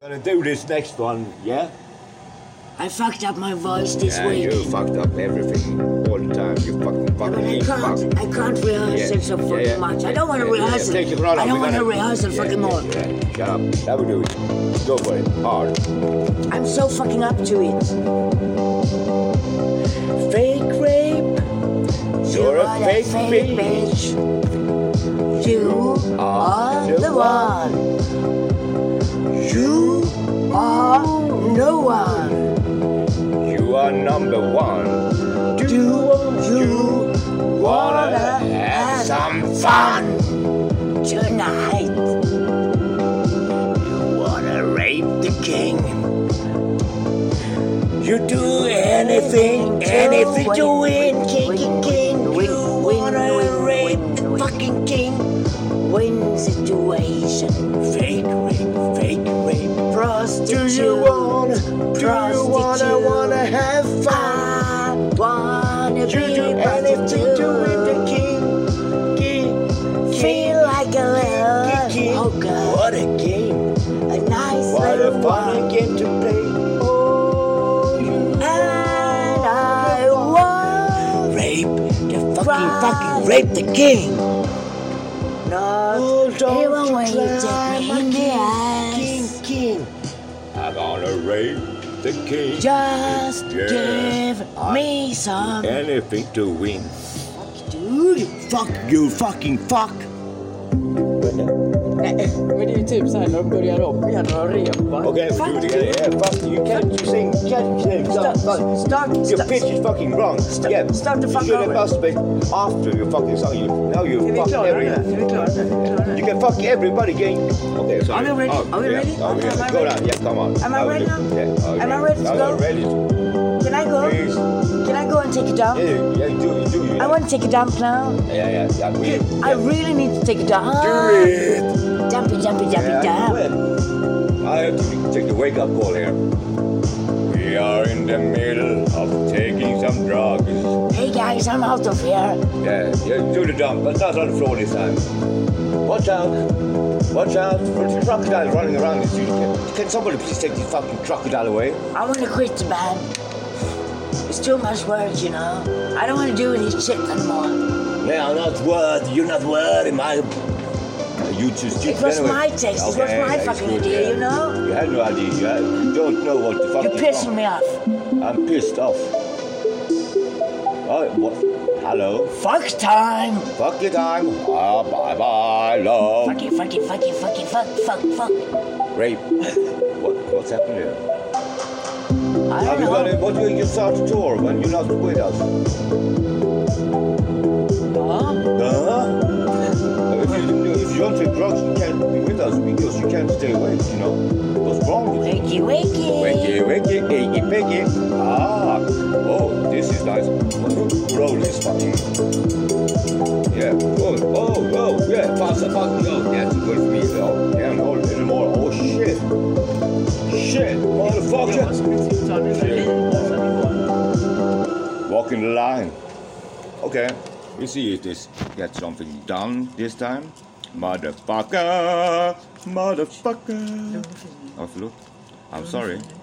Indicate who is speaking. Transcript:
Speaker 1: Gonna do this next one, yeah?
Speaker 2: I fucked up my voice this
Speaker 1: Yeah,
Speaker 2: week.
Speaker 1: you fucked up everything all the time. You fucking
Speaker 2: Yeah, but
Speaker 1: fucking
Speaker 2: I
Speaker 1: you
Speaker 2: can't.
Speaker 1: fuck.
Speaker 2: I can't rehearse
Speaker 1: Yeah,
Speaker 2: it so
Speaker 1: yeah,
Speaker 2: fucking
Speaker 1: yeah.
Speaker 2: much. I don't want to
Speaker 1: Yeah, yeah,
Speaker 2: rehearse
Speaker 1: yeah.
Speaker 2: it.
Speaker 1: Take your run
Speaker 2: I
Speaker 1: up,
Speaker 2: don't
Speaker 1: we
Speaker 2: want to
Speaker 1: gotta-
Speaker 2: rehearse it
Speaker 1: Yeah,
Speaker 2: fucking
Speaker 1: yeah,
Speaker 2: more.
Speaker 1: yeah. Shut up. That will do it. Go for it. Hard.
Speaker 2: I'm so fucking up to it. Fake rape.
Speaker 1: You're a
Speaker 2: are
Speaker 1: fake bitch.
Speaker 2: bitch. You are the one.
Speaker 1: You,
Speaker 2: Are no one.
Speaker 1: you are number one. Do
Speaker 2: you
Speaker 1: wanna have some fun?
Speaker 2: tonight?
Speaker 1: You wanna rape the king? You do anything, anything to win, king, king, king.
Speaker 2: Win,
Speaker 1: You
Speaker 2: win,
Speaker 1: wanna
Speaker 2: win,
Speaker 1: rape
Speaker 2: win,
Speaker 1: the
Speaker 2: win.
Speaker 1: fucking king?
Speaker 2: Win situation.
Speaker 1: Fake rape, fake rape.
Speaker 2: Prostitute.
Speaker 1: Do you wanna, do you wanna, wanna have fun?
Speaker 2: I wanna
Speaker 1: You
Speaker 2: be
Speaker 1: do anything to win the
Speaker 2: prostitute.
Speaker 1: king, king, king,
Speaker 2: Feel like a
Speaker 1: king, king.
Speaker 2: little hooker,
Speaker 1: What a game,
Speaker 2: a nice
Speaker 1: Oh, what a
Speaker 2: little
Speaker 1: fun
Speaker 2: one,
Speaker 1: game to play. Oh, you
Speaker 2: and I want
Speaker 1: rape the fucking
Speaker 2: Right.
Speaker 1: fucking rape the king.
Speaker 2: not
Speaker 1: Oh, don't
Speaker 2: even when you
Speaker 1: cry,
Speaker 2: take me
Speaker 1: my
Speaker 2: in the
Speaker 1: king,
Speaker 2: eyes.
Speaker 1: king, king. I'm gonna rape the king.
Speaker 2: Just
Speaker 1: Yeah.
Speaker 2: give
Speaker 1: I-
Speaker 2: me some,
Speaker 1: Anything to win.
Speaker 2: dude.
Speaker 1: Fuck you, fucking fuck.
Speaker 3: Men det är ju typ såhär när de börjar om igen och repar.
Speaker 1: Okay, we do it again. Yeah, fuck you. Can't you sing? Can't you sing?
Speaker 3: Start,
Speaker 1: Fuck.
Speaker 3: start,
Speaker 1: Your
Speaker 3: start.
Speaker 1: pitch is fucking wrong.
Speaker 3: Stop-
Speaker 1: yeah,
Speaker 3: stop the fuck
Speaker 1: You should have
Speaker 3: over.
Speaker 1: masturbate after your fucking song. You, now you
Speaker 3: Är vi
Speaker 1: fuck
Speaker 3: klara nu? Är
Speaker 1: everyone.
Speaker 3: vi klara nu? Är vi klara
Speaker 1: You
Speaker 3: nu?
Speaker 1: can fuck everybody, gang. Okay, sorry.
Speaker 3: Are we ready?
Speaker 1: Oh,
Speaker 3: Are we
Speaker 1: yeah.
Speaker 3: ready?
Speaker 1: Oh, yeah.
Speaker 3: Am I
Speaker 1: Go
Speaker 3: ready?
Speaker 1: down. Yeah, come on.
Speaker 2: Am I
Speaker 1: Now we
Speaker 2: ready
Speaker 1: do-
Speaker 2: now?
Speaker 1: Yeah. are you
Speaker 2: Am I ready to
Speaker 1: Are you
Speaker 2: go?
Speaker 1: ready?
Speaker 2: Can I
Speaker 1: Please.
Speaker 2: go? Can I go and take a
Speaker 1: Yeah,
Speaker 2: dump?
Speaker 1: you- yeah, you do, you do. You
Speaker 2: I want to take a dump now.
Speaker 1: Yeah, yeah, yeah. We, yeah.
Speaker 2: I really need to take a dump.
Speaker 1: do it.
Speaker 2: Dumpy, dumpy, dumpy,
Speaker 1: Yeah, I
Speaker 2: dump.
Speaker 1: will. I have to take the wake up call here. We are in the middle of taking some drugs.
Speaker 2: Hey guys, I'm out of here.
Speaker 1: Yeah, yeah, do the dump, but not on the floor this time. Watch out! Watch out for the crocodile running around this street. Can somebody please take this fucking crocodile away?
Speaker 2: I want to quit the band. It's too much work, you know. I don't want to do any shit anymore.
Speaker 1: They are not worthy, you're not worthy, my. You just
Speaker 2: It was my text. It was my fucking idea, you know?
Speaker 1: You had no idea, you had, you don't know what the fuck
Speaker 2: You're
Speaker 1: is
Speaker 2: pissing
Speaker 1: wrong.
Speaker 2: me off.
Speaker 1: I'm pissed off. Oh, what? Hello?
Speaker 2: Fuck time.
Speaker 1: Fuck your time. Ah, bye bye, love.
Speaker 2: Fuck it, fuck it, fuck it, fuck it, fuck, fuck, fuck.
Speaker 1: Rape. what, what's happened here?
Speaker 2: I
Speaker 1: Have
Speaker 2: don't
Speaker 1: you got it?
Speaker 2: know.
Speaker 1: What will you start to tour when you're not with us?
Speaker 2: Oh,
Speaker 3: Ja,
Speaker 1: Huh? If you, if you don't take drugs, you can't be with us because you can't stay awake, you know? What's wrong with you?
Speaker 2: Wakey,
Speaker 1: Wakey,
Speaker 2: wakey.
Speaker 1: wakey, achy, picky. Ah, oh, this is nice. Roll this fucking. Yeah, good. Oh, oh, yeah, faster, fucking go. That's good for me. Oh, yeah, no, a little more. Oh, shit. Shit,
Speaker 3: det var
Speaker 1: motherfucker.
Speaker 3: som ett tilltal nu när det är
Speaker 1: Walking the line. Okay, we see if this get something done this time. Motherfucker, motherfucker. Oh, förlåt. I'm sorry.